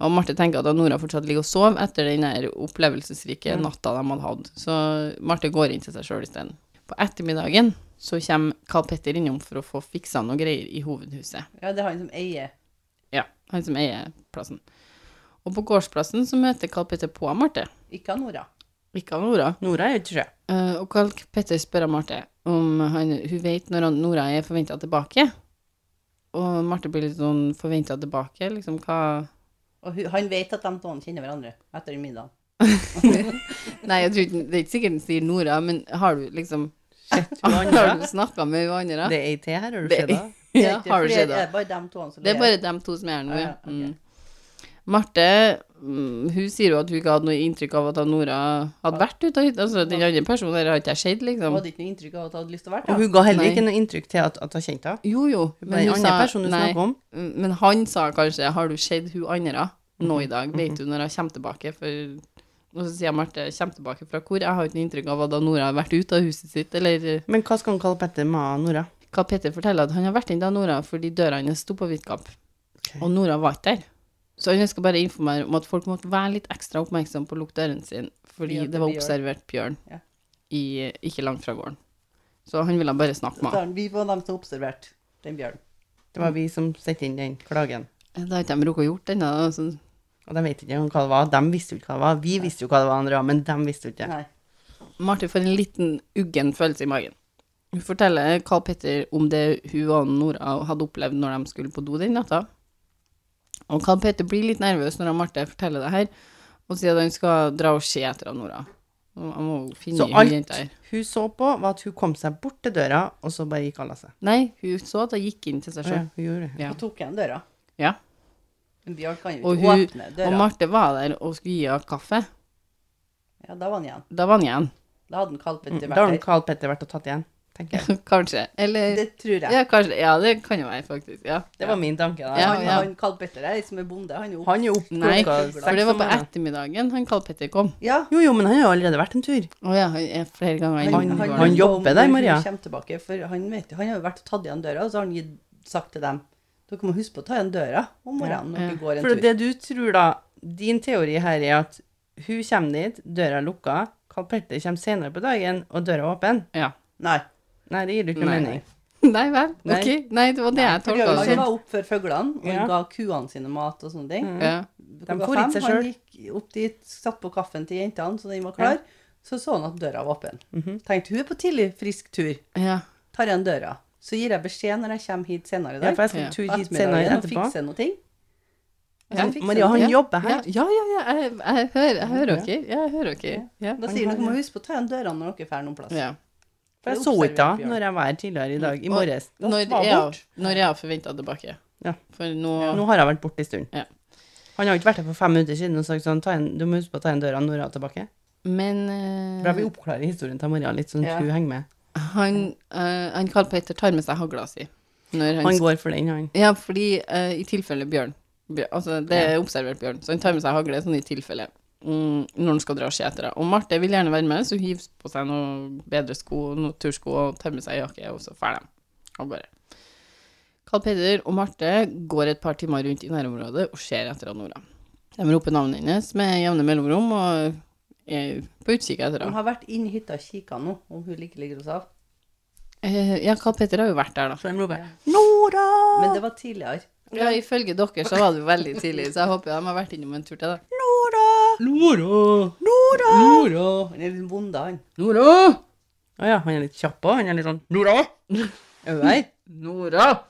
Og Marte tenker at Nora fortsatt ligger og sover etter den her opplevelsesrike Mm. natta de hadde hatt. Så Marte går inn til seg sjøl isteden. På ettermiddagen så kommer Carl Petter innom for å få fiksa noe greier i hovedhuset. Ja, det er han som eier. Ja, han som eier plassen. Og på gårdsplassen så møter Carl Petter på Marte. Ikke han Nora. Ikke av Nora. Nora er jo ikke sjø. Eh, og Carl Petter spør av Marte om han, hun vet når han, Nora er forventa tilbake. Og Marte blir litt sånn forventa tilbake, liksom hva Og hun, han vet at de to kjenner hverandre etter den middagen. Nei, jeg tror ikke, det er ikke sikkert han sier Nora, men har du liksom Har du andre? snakka med hun andre? Det er ei til her, har du Det er- sett det? Det Ja, er ikke- har for du det sett er- det? er bare dem to som Det er ler. bare dem to som er her nå, Ah, ja. ja, ok. Mm. Marte mm, hun sier jo at hun ikke hadde noe inntrykk av at han Nora hadde vært ute av hytta. Altså, den andre personen der har ikke jeg sett, Hun liksom. hadde ikke noe inntrykk av at hun hadde lyst til å være Og der. hun ga heller Nei. ikke noe inntrykk til at, at hun kjente henne. Jo, jo. Hun var den andre personen du nei, snakker om. mm, men han sa kanskje 'Har du sett hun andre nå i Mhm, dag? Vet du når hun kommer tilbake?' For og så sier Marte 'Kommer tilbake fra hvor?' Jeg har ikke noe inntrykk av at da Nora har vært ute av huset sitt, eller eh, Men hva skal han kalle Petter med Nora? hva Petter forteller, at han har vært inne til Nora fordi døra hennes sto på vidt gap, Ok. og Nora var ikke der. Så han ønsker bare å informere om at folk måtte være litt ekstra oppmerksom på å lukke døren sin, fordi Fordi at det var det blir observert bjørn Ja. i, ikke langt fra gården. Så han ville bare snakke med Så henne. han- Vi var dem som observerte den bjørnen. Det Mm. var vi som sendte inn den klagen. Det har ikke de rukket å gjort ennå. altså. da, så- Og de vet ikke om hva det var. De visste jo ikke hva det var. Vi visste jo hva det var, Andrea, men de visste jo ikke. Nei. Marte får en liten uggen følelse i magen. Hun forteller Carl Petter om det hun og Nora hadde opplevd når de skulle på do den natta. Og Carl Petter blir litt nervøs når han Marte forteller det her, og sier at han skal dra og se etter han Nora. Og Han må jo finne Så hun alt jenta her. hun så på, var at hun kom seg bort til døra, og så bare gikk alle av seg. Nei, hun så at hun gikk inn til seg Ja, sjøl. hun gjorde det. Ja. Og tok igjen døra. Ja. En bjørn kan jo Og, ikke hun, åpne og døra. Marte var der og skulle gi henne kaffe. Ja, da var han igjen. Da var han igjen, Da hadde han kalt Petter Mm, Da har vært han Carl Petter vært og tatt igjen, tenker jeg. kanskje. der. Eller Det tror jeg. ja, kanskje. ja, det kan jo være, faktisk. Ja. Det var min tanke. da. Ja, han, ja. han Carl Petter der, som er bonde, han er jo opp. Han er jo opp Nei, klokka For det seks var om på morgenen. ettermiddagen han Carl Petter kom. Ja. Jo, jo, men han har jo allerede vært en tur. Å ja, han er flere ganger innom han- gården. han jobber der, Maria. Hun kommer tilbake, for han, vet, han har jo vært og tatt igjen døra, og så har han gitt, sagt til dem dere må huske på å ta igjen døra om morgenen når Ja. dere går en For tur. det du tror, da Din teori her er at hun kommer dit, døra er lukka, Carl Petter kommer senere på dagen, og døra er åpen. Ja. Nei. Nei, det gir du ikke noe Nei. mening. Nei vel. Nei. Ok. Nei, det var det jeg tolka det Han som. var opp før fuglene, og Ja. han ga kuene sine mat og sånne ting. Ja. Klokka De får ikke fem, seg Han gikk opp dit, satt på kaffen til jentene, så den var klar. Så så han at døra var åpen. Mhm. Tenkte hun er på tidlig, frisk tur. ja. Tar igjen døra. Så gir jeg beskjed når jeg kommer hit senere i Ja, dag. for jeg skal Ja. tur på hit ettermiddagen, senere og etterpå. fikser noe ting. Og Ja, så fikser Maria, han han Ja. jobber Ja, her. ja, ja, ja. Jeg, jeg hører, jeg hører dere. Ja, jeg hører dere. Ja. Da sier han dere må huske på å ta igjen dørene når dere drar noen plass. ja. For jeg Det så observerte ikke vi henne når jeg var her tidligere i dag, i Og morges. Da Når var hun jeg, borte. når jeg forventa tilbake. Ja. For nå Nå har jeg vært borte en stund. Ja. Han har jo ikke vært her for fem minutter siden og sagt sånn ta en, Du må huske på å ta igjen døra når hun er tilbake. Men For jeg eh, vil oppklare historien til Maria litt, sånn at Ja. hun henger med. han, eh, han Carl Petter tar med seg hagla si. Når han, Han går for den, han. ja, fordi eh, i tilfelle bjørn. bjørn Altså, det er observert bjørn, så han tar med seg hagle sånn i tilfelle. Mm, når han skal dra og se etter det. Og Marte vil gjerne være med, så hun hiver på seg noen bedre sko, noen tursko, og tar med seg jakke, og så drar de av gårde. Carl Peder og Marte går et par timer rundt i nærområdet og ser etter Nora. De roper navnet hennes med jevne mellomrom og er på utkikk etter Han henne. har vært inne i hytta og kikka nå, om hun like ligger hos henne. Eh, Ja, Carl Petter har jo vært der, da. Så de roper 'Nora!' Men det var tidligere. Ja, ifølge dere så var det jo veldig tidlig, så jeg håper de har vært innom en tur til, da. Nora! Nora! Nora! Han er litt vond, da, han. Nora! Å ja, han er litt kjapp òg. Han er litt sånn Nora! Er du der? Nora!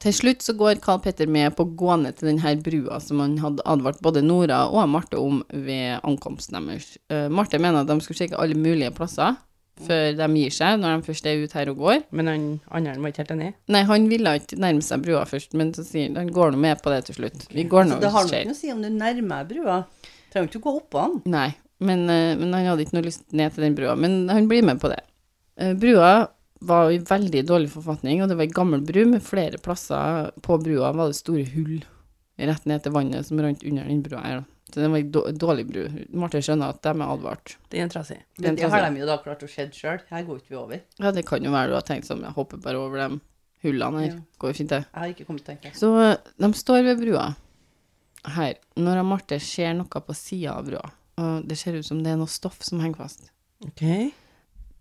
Til slutt så går Carl Petter med på å gå ned til denne brua som han hadde advart både Nora og Marte om ved ankomsten deres. Eh, Marte mener at de skulle sjekke alle mulige plasser før de gir seg, når de først er ute her og går. Men han andre var ikke helt enig. Nei, han ville ikke nærme seg brua først, men så sier han han går nå med på det til slutt. Vi går nå, Så det har hvis det nok skjer. noe å si om du nærmer deg brua. Trenger ikke å gå oppå den. Nei, men, eh, men han hadde ikke noe lyst ned til den brua, men han blir med på det. Eh, Brua var i veldig dårlig forfatning, og det var ei gammel bru med flere plasser på brua var det store hull rett ned til vannet som rant under den brua her. da. Så det var ei då- dårlig bru. Marte skjønner at de er advart. Den er trasig. Den Men det har plassen. de jo da klart å skjedd sjøl. Her går ikke vi over. Ja, det kan jo være du har tenkt sånn, jeg hopper bare over de hullene her. Ja. Går jo fint, det. Jeg har ikke kommet til å tenke. Så eh, de står ved brua her. Når Marte ser noe på sida av brua, og det ser ut som det er noe stoff som henger fast. Ok.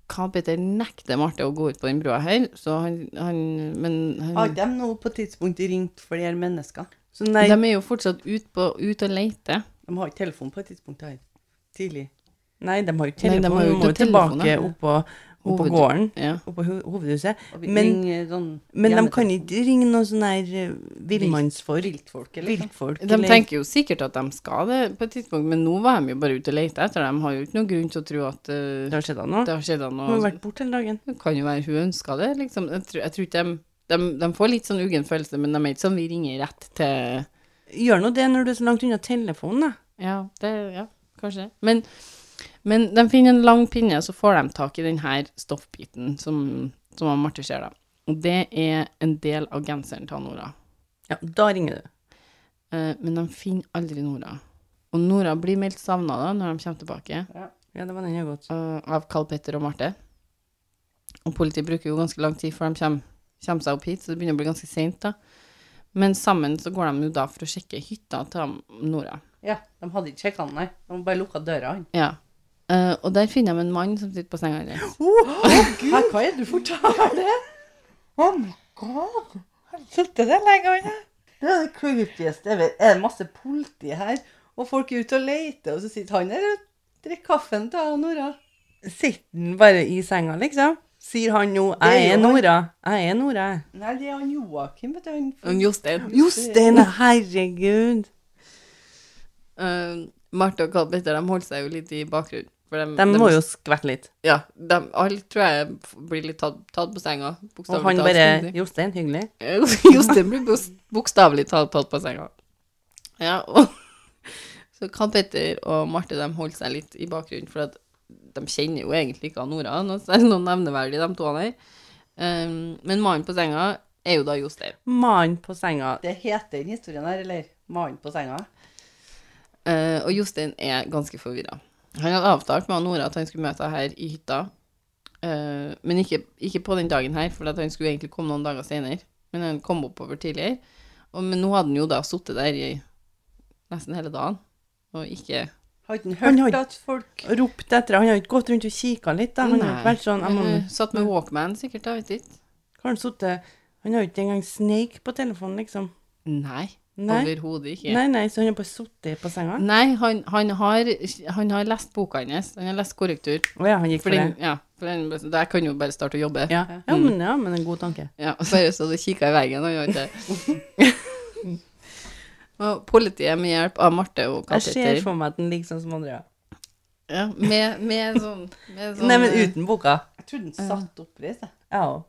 Carl Peter nekter Marte å gå ut på den brua her, så han, han Men Har han, de nå på et tidspunkt ringt flere mennesker? Så nei, de er jo fortsatt ute ut og leter. De har ikke telefon på et tidspunkt her. Tidlig. nei, de har jo ikke Nei, telefon. de de har jo ikke må jo telefon, tilbake da. oppå, oppå Hoved- gården. Ja. Oppå ho- hovedhuset. Og vi Men- ringer sånn Men de hjemmetelefon. kan ikke ringe noe sånn her eh, villmannsfolk. Viltfolket, liksom. Viltfolk. De eller- tenker jo sikkert at de skal det på et tidspunkt, men nå var de jo bare ute og lette etter dem. Har jo ikke noen grunn til å tro at eh, Det har skjedd noe. det har skjedd Hun har noe. vært borte hele dagen. Det kan jo være hun ønska det, liksom. Jeg tror, jeg tror ikke de, de De får litt sånn uggen følelse, men de er ikke sånn vi ringer rett til Gjør nå det når du er så langt unna telefonen, da. Ja, det, ja kanskje det. Men, men de finner en lang pinne, så får de tak i denne stoffbiten som, som han Marte ser, da. Og det er en del av genseren til han Nora. Ja, da ringer du. Eh, men de finner aldri Nora. Og Nora blir meldt savna da, når de kommer tilbake, Ja, det var den jeg har gått. eh, av Carl Petter og Marte. Og politiet bruker jo ganske lang tid før de kommer, kommer seg opp hit, så det begynner å bli ganske seint, da. Men sammen så går de jo da for å sjekke hytta til han Nora. Ja, de hadde ikke sjekka den, nei. De bare lukka døra. han. Ja. Eh, og der finner de en mann som sitter på senga hennes. Hæ, hva er det du forteller? Oh my god! Har du sittet der lenge? Det er det creepieste jeg vet. Er det masse politi her? Og folk er ute og leter, og så sitter han der og drikker kaffen til Nora. Sitter han bare i senga, liksom? Sier han nå 'jeg Det er gjør han. Nora'? Jeg er Nora. Nei, det er han Joakim, vet du. Han Jostein. Jostein, herregud! Uh, Marte og Carl Petter de holder seg jo litt i bakgrunnen. For de, De må jo skvette litt. Ja, de, alle tror jeg f- blir litt tatt, tatt på senga. Og bokstavelig han talt, bare skulle 'Jostein, hyggelig'. jeg si. Jostein blir bos- bokstavelig talt tatt på senga. Ja, og Så Carl Petter og Marte de holder seg litt i bakgrunnen, for at de kjenner jo egentlig ikke Nora. Noe særlig noe nevneverdig, de to der. Um, men mannen på senga er jo da Jostein. Mannen på senga. Det heter den historien her, eller? Mannen på senga? Eh, og Jostein er ganske forvirra. Han hadde avtalt med Nora at han skulle møte henne her i hytta, Eh, men ikke, ikke på den dagen her, for at han skulle egentlig komme noen dager senere. Men han kom oppover tidligere. Og, men nå hadde han jo da sittet der i nesten hele dagen, og ikke Har ikke Han han hørt har- at folk Og ropte etter Han har jo ikke gått rundt og kikka litt, da. Han har jo ikke Nei. vært sånn jeg må, Eh, Satt med Walkman, sikkert, da, vet ikke. Har han sittet Han har jo ikke engang Snake på telefonen, liksom. Nei. Nei, Overhodet ikke. nei, nei så han har bare sittet på senga? Nei, han, han, har, han har lest boka hans. Han har lest korrektur. Å ja, han gikk For for det. den, ja, for den, der kan jo bare starte å jobbe. Ja, ja, Mm. men, ja men en god tanke. Ja, bare så du kikket i veggen og gjorde det. og politiet med hjelp av Marte og Karl Jeg ser Petter. for meg at den ligger sånn som Andrea. Ja, med, med sånn, med sånn Nei, men uten boka. Jeg trodde han satt oppreist, jeg. Jeg òg.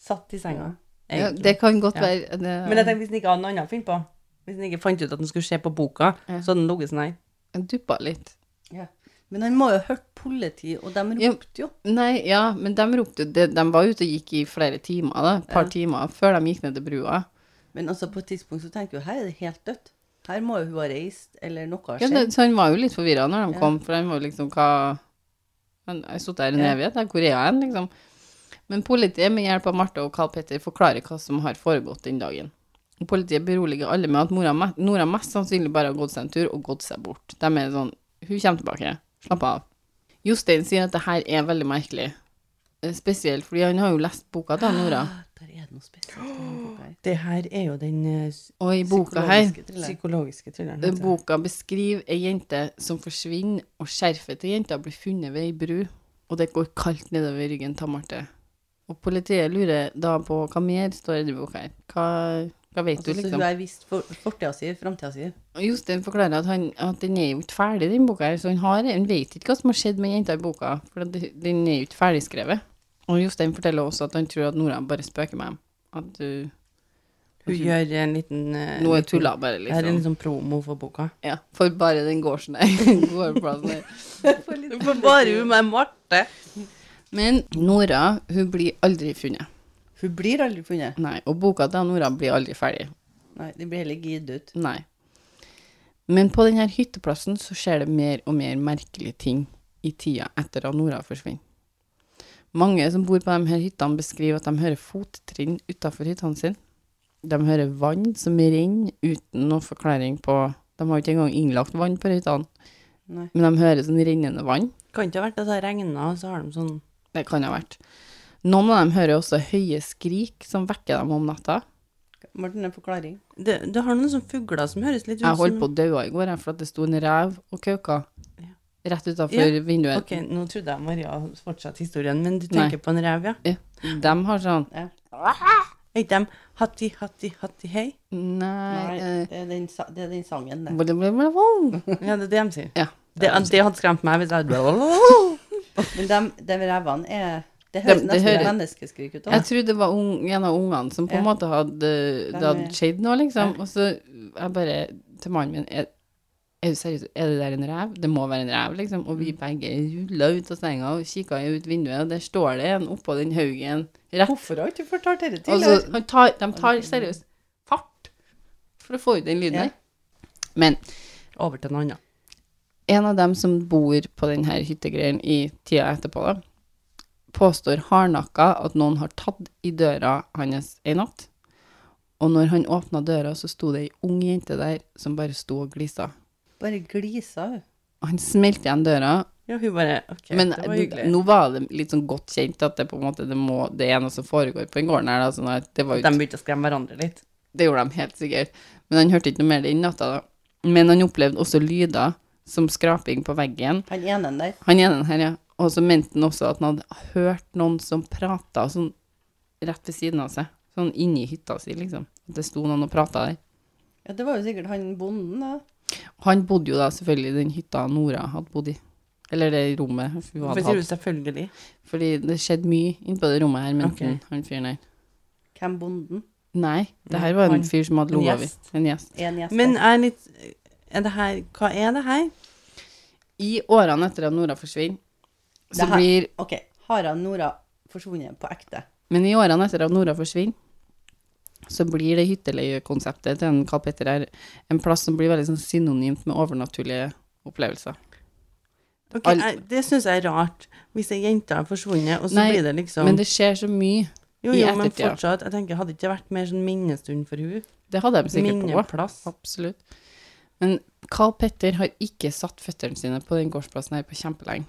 Satt i senga. ja, egentlig. Det kan godt Ja. være eh, det, Men jeg tenkte, hvis den ikke hadde noe annet å finne på Hvis den ikke fant ut at den skulle se på boka, Ja. så hadde den ligget sånn her. jeg duppa litt. Ja. Men han må jo ha hørt politi, og de Ja. ropte jo. Nei, ja, men de ropte jo- de, de var ute og gikk i flere timer, da. Et par timer før de gikk ned til brua. Men altså, på et tidspunkt så tenker jeg jo her er det helt dødt. Her må jo hun ha reist, eller noe har Ja, skjedd. det, så han var jo litt forvirra når de kom, for han var jo liksom hva Han har sittet her i en Ja. evighet, hvor er han, liksom? Men politiet, med hjelp av Marte og Carl Petter, forklarer hva som har foregått den dagen. Og Politiet beroliger alle med at mora, me- Nora mest sannsynlig bare har gått seg en tur og gått seg bort. De er sånn Hun kommer tilbake. Slapp av. Jostein sier at det her er veldig merkelig. Eh, Spesielt fordi han har jo lest boka til Nora. Ah, der er det noe spesielt. med denne boka her. Det her er jo den eh, s- Og i boka her Psykologiske thriller. psykologiske thrilleren. Den heter det. Boka beskriver ei jente som forsvinner, og skjerfet til jenta blir funnet ved ei bru, og det går kaldt nedover ryggen til Marte. Og politiet lurer da på hva mer står i den boka her. Hva, hva vet Altså, du, så liksom? hun har visst for, fortida si, framtida si. Og Jostein forklarer at, han, at den er jo ikke ferdig, den boka her. Så han, har, han vet ikke hva som har skjedd med jenta i boka, for at det- den er jo ikke ferdigskrevet. Og Jostein forteller også at han tror at Nora bare spøker med ham. At du Hun gjør en liten eh, Nå er liten- tulla, bare, Det her er en liksom. liksom promo for boka. Ja, for bare den gården der. Gårdplassen der. For bare hun med Marte. Men Nora, hun blir aldri funnet. Hun blir aldri funnet. Nei, og boka til Nora blir aldri ferdig. Nei, de blir heller gitt ut. Nei. Men på denne hytteplassen så skjer det mer og mer merkelige ting i tida etter at Nora forsvinner. Mange som bor på de her hyttene beskriver at de hører fottrinn utenfor hyttene sine. De hører vann som renner uten noen forklaring på De har jo ikke engang innlagt vann på hyttene, Nei. men de hører sånn rennende vann. Kan ikke ha vært at det har regna, og så har de sånn Det kan ha vært. Noen av dem hører også høye skrik som vekker dem om natta. Martin, en forklaring. det, det har noen sånne fugler som høres litt ut Jeg holdt som på å dø i går jeg, for at det sto en rev og kauka rett utenfor Ja, vinduet. Ok, nå trodde jeg Maria fortsatte historien, men du tenker på en rev, ja? Ja. De har sånn Er ikke dem hatti, hatti, hatti, hei? Nei, eh, det, er den, sa- det er den sangen der. bla, bla, bla, bla. Ja, det er det de sier. Ja. Det, det hadde skremt meg hvis jeg Men de, de revene er Det Dem- høres det nesten hører- menneskeskrik ut. da. Jeg trodde det var ung, en av ungene som på en Ja. måte hadde Det hadde skjedd noe, liksom. Og så jeg bare til mannen min er, er du seriøs, er det der en rev? Det må være en rev, liksom. Og vi begge rulla ut av senga og kikka ut vinduet, og der står det en oppå den haugen rett Hvorfor har ikke du fortalt dette Og tidligere? så han tar, de tar seriøst fart for å få ut den lyden Ja. der. Men Over til en annen. en av dem som bor på denne hyttegreien i tida etterpå, da, påstår hardnakka at noen har tatt i døra hans en natt. Og når han åpna døra, så sto det ei ung jente der som bare sto og glisa. Bare glisa hun. Og Han smelte igjen døra, Ja, hun bare Ok, men det var hyggelig. nå var det litt sånn godt kjent at det på en måte det, må, det er noe som foregår på den gården her. Da, sånn at det, var jo De begynte å skremme hverandre litt. Det gjorde de helt sikkert. Men han hørte ikke noe mer den natta, da. Men han opplevde også lyder som skraping på veggen. Han ene der. Han ene her, ja. Og så mente han også at han hadde hørt noen som prata sånn rett ved siden av seg. Sånn inni hytta si, liksom. At det sto noen og prata der. Ja, det var jo sikkert han bonden, da. Og han bodde jo da selvfølgelig i den hytta Nora hadde bodd i. Eller det rommet hun hadde Hvorfor sier du hatt. selvfølgelig? Fordi det skjedde mye innpå det rommet her, mente Ok. han, han fyren der. Hvem bonden? Nei, det her var Mm. Han- en fyr som hadde en ligget over. gjest. En gjest. En gjest. Men der. er litt er det her, Hva er det her? I årene etter at Nora forsvinner, så Det her- blir OK. Har han Nora forsvunnet på ekte? Men i årene etter at Nora forsvinner, så blir det hytteleiekonseptet til en Karl Petter her en plass som blir veldig sånn synonymt med overnaturlige opplevelser. Ok, Al- jeg, det syns jeg er rart. Hvis ei jente har forsvunnet, og så Nei, blir det liksom Men det skjer så mye. Jo, i jo, men ettertida. fortsatt. Jeg tenker, Hadde det ikke vært mer sånn minnestund for hun? Det hadde de sikkert på. Minneplass. Absolutt. Men Karl Petter har ikke satt føttene sine på den gårdsplassen her på kjempelenge.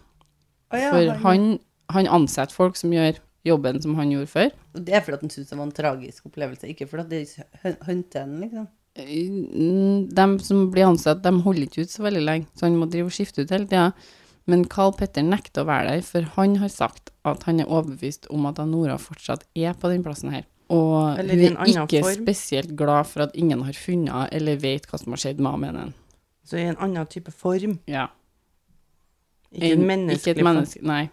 Å ja, For han, han ansetter folk som gjør jobben som han gjorde før. Og Det er fordi at han syntes det var en tragisk opplevelse, ikke fordi at det hø- hønte henne, liksom. Eh, De mm, som blir ansatt, de holder ikke ut så veldig lenge, så han må drive og skifte ut hele tida. Men Carl Petter nekter å være der, for han har sagt at han er overbevist om at Nora fortsatt er på den plassen her. Og Eller hun i en er annen ikke form. spesielt glad for at ingen har funnet henne eller vet hva som har skjedd med henne. Så i en annen type form. Ja. Ikke en Ikke menneskelig et menneske, nei.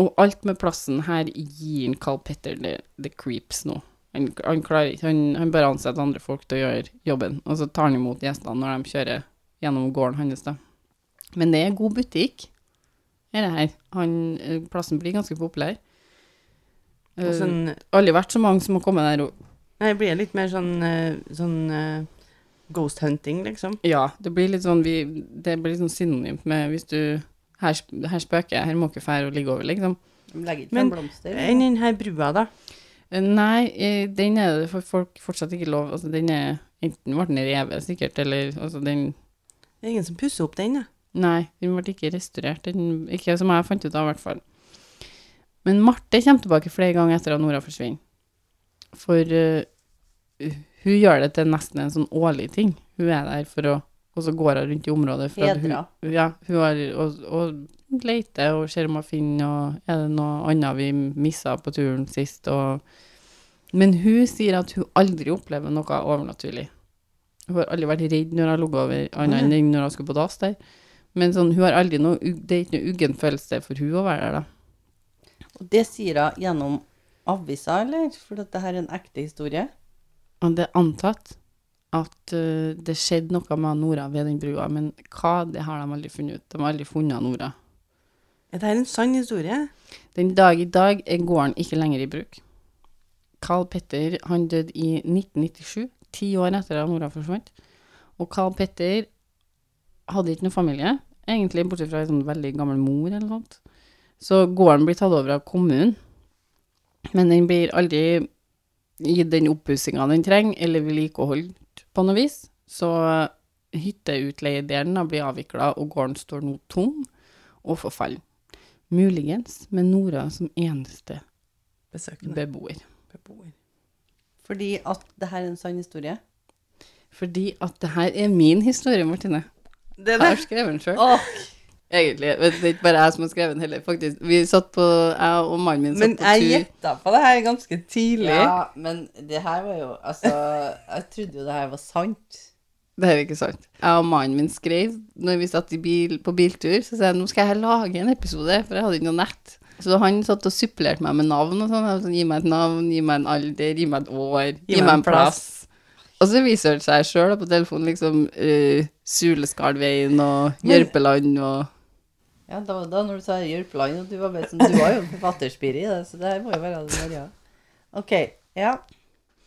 Og alt med plassen her gir en Carl Petter the, the creeps nå. Han, han klarer ikke, han, han bare ansetter andre folk til å gjøre jobben, og så tar han imot gjestene når de kjører gjennom gården hans da. Men det er god butikk, er det her. Han, eh, plassen blir ganske populær. form. Og Eh, Sånn, aldri vært så mange som har kommet der og nei, det blir litt mer sånn, eh, sånn eh, ghost hunting, liksom. Ja, det blir litt sånn, vi, det blir litt sånn synonymt med hvis du Her, sp- her spøker jeg, her må ikke fære og ligge over, liksom. De legger ikke Men- fram blomster. liksom. Enn den her brua, da. Nei, eh, den er det for folk fortsatt ikke lov. Altså, den er enten ble den revet, sikkert, eller altså, den Det er ingen som pusser opp den, da. Nei, den ble ikke restaurert. Den, ikke som jeg fant ut av, i hvert fall. Men Marte kommer tilbake flere ganger etter at Nora forsvinner. For eh, hun gjør det til nesten en sånn årlig ting. Hun er der for å Og så går hun rundt i området. For at Hedra. Hun, ja, hun har, og, og leter og ser om hun finner og Er det noe annet vi missa på turen sist? Og, men hun sier at hun aldri opplever noe overnaturlig. Hun har aldri vært redd når hun har ligget over, annet enn når hun skulle på dass der. Men sånn, hun har aldri noe, ugg- det er ikke noe uggen følelse for hun å være der, da. Og det sier hun gjennom avisa, eller? For at det her er en ekte historie. Og det er antatt at eh, det skjedde noe med Nora ved den brua, men hva, det har de aldri funnet ut. De har aldri funnet Nora. Er dette en sann historie? Den dag i dag er gården ikke lenger i bruk. Carl Petter han døde i 1997, ti år etter at Nora forsvant. Og Carl Petter hadde ikke noen familie, egentlig bortsett fra en sånn veldig gammel mor eller noe sånt. Så gården blir tatt over av kommunen, men den blir aldri gitt den oppussinga den trenger, eller vedlikeholdt på noe vis. Så hytteutleiedelen har blitt avvikla, og gården står nå tom og forfallen. Muligens med Nora som eneste Besøkende. beboer. Beboer. Fordi at det her er en sann historie. Fordi at det her er min historie, Martine. Det Jeg har skrevet den sjøl. Åh, Egentlig. men Det er ikke bare jeg som har skrevet den heller, faktisk. Vi satt på, Jeg og mannen min satt men på tur. jeg gjetta på det her ganske tidlig. Ja, men det her var jo Altså, jeg trodde jo det her var sant. Det er ikke sant. Jeg og mannen min skrev når vi satt i bil, på biltur, så sa jeg nå skal jeg lage en episode, for jeg hadde ikke noe nett. Så han satt og supplerte meg med navn og sånn. Jeg var sånn, Gi meg et navn, gi meg en alder, gi meg et år, gi, meg en plass. Og så researcha jeg sjøl på telefonen liksom eh, Suleskardveien og Jørpeland og Ja, da, da når du sa Jørpeland, og du var bare sånn Du var jo forfatterspire i det, så det her må jo være det Maria. OK. Ja.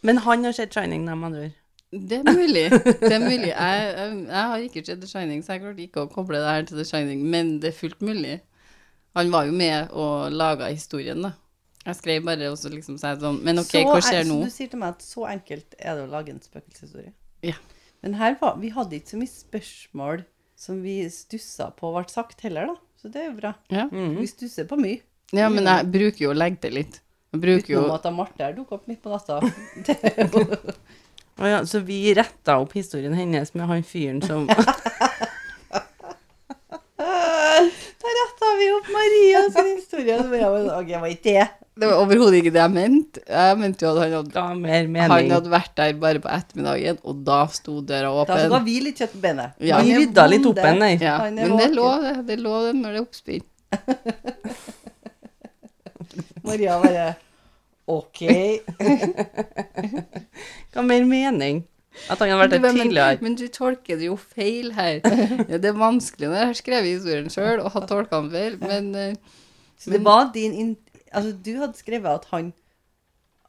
Men han har sett 'Shining', da, med andre ord. Det er mulig. det er mulig. Jeg, jeg, jeg har ikke sett The Shining, så jeg klarte ikke å koble det her til The Shining, men det er fullt mulig. Han var jo med og laga historien, da. Jeg skrev bare og så liksom sa jeg sånn Men OK, Så hva en- skjer så nå? Du sier til meg at så enkelt er det å lage en spøkelseshistorie. Ja. Men her var, vi hadde ikke så mye spørsmål som vi stussa på ble sagt heller, da. Så det er jo bra. Ja. Vi stusser på mye. ja, men jeg bruker jo å legge til litt. Jeg bruker jo Utenom at da Marte her dukket opp midt på natta. Det er jo Å ja, så vi retta opp historien hennes med han fyren som Der retta vi opp Maria sin historie. Så jeg var sånn, ok, var ikke det. Det var overhodet ikke det jeg mente. Jeg mente jo at han hadde, ga mer han mening. hadde vært der bare på ettermiddagen, og da sto døra Da ga åpen. vi litt kjøtt på benet. Ja. Han Vi er rydda litt opp bonde. en, nei. Ja, Han er men det våken. lå det. Det lå det når det er oppspinn. Maria bare OK. Ga mer mening. At han hadde vært Du, der men- tidligere. Men du tolker det jo feil her. Ja, det er vanskelig når jeg har skrevet historien sjøl og har tolka den feil, men eh, Så det var din in Altså, du hadde skrevet at han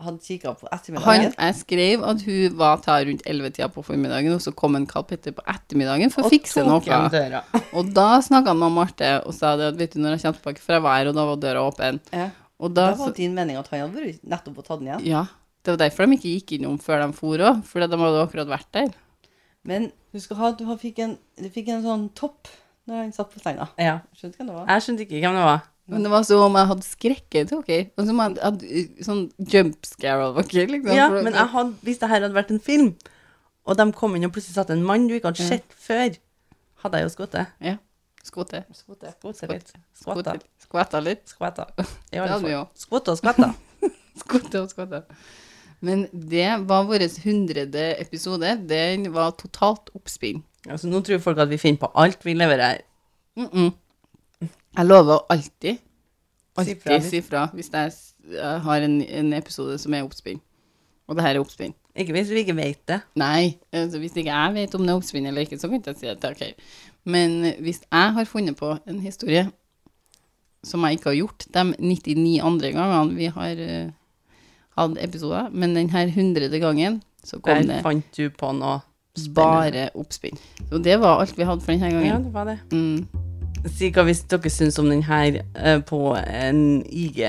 hadde kikka på han, ettermiddagen. jeg skrev at hun var ta rundt 11-tida på formiddagen, og så kom en Karl Petter på ettermiddagen for å fikse tok noe. igjen døra. Og da snakka han med Marte og sa det at vet du, når jeg kommer tilbake fra været, og da var døra åpen. Ja. Og Da da, var din mening at han hadde vært nettopp og tatt den igjen. ja, det var derfor de ikke gikk innom før de for òg, for de hadde akkurat vært der. Men du skal ha, du har- fikk en, du fikk en sånn topp når han satt på senga. Ja. Skjønte hva det var? Jeg skjønte ikke hvem det var. Men det var som om jeg hadde skrekken til dere. Og som om jeg hadde eh, sånn jump scare av dere. Liksom, Ja, For- men jeg hadde, hvis det her hadde vært en film, og de kom inn og plutselig satt en mann du ikke hadde sett før, hadde jeg jo skutt det. Ja. Skått til. Skutt det litt. Skvatta. Skvatta. Skvatta litt. Skvatta. Det Det var hadde vi litt jo. fort. Skvatta og skvatta. Skvatta og skvatta. Men det var vår hundrede episode. Den var totalt oppspinn. Altså, nå tror folk at vi finner på alt vi leverer. Mm -mm. Jeg lover å alltid Si fra alltid hvis- si fra hvis jeg s- jeg har en, en episode som er oppspinn. Og det her er oppspinn. Ikke hvis vi ikke vet det. Nei, altså hvis ikke jeg vet om det er oppspinn eller ikke, så kan ikke jeg si at det er ok. Men eh, hvis jeg har funnet på en historie som jeg ikke har gjort de 99 andre gangene vi har eh, hatt episoder, men denne 100. gangen så kom Der fant du på noe. det bare oppspinn. Så det var alt vi hadde for denne Ja, gangen. det var det. Mm. Si hva hvis dere syns om den her eh, på en IG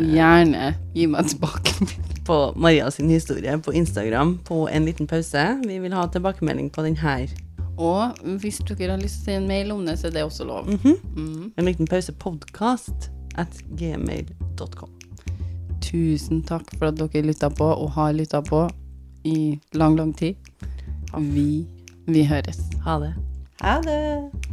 Gjerne gi meg tilbake. på Maria sin historie på Instagram på en liten pause. Vi vil ha tilbakemelding på den her. Mhm. Og hvis dere har lyst til å si en mail om det, så er det også lov. Mm. En liten pause podcast at gmail.com. Tusen takk for at dere lytta på, og har lytta på i lang, lang tid. Vi, vi høres. Ha det. Ha det.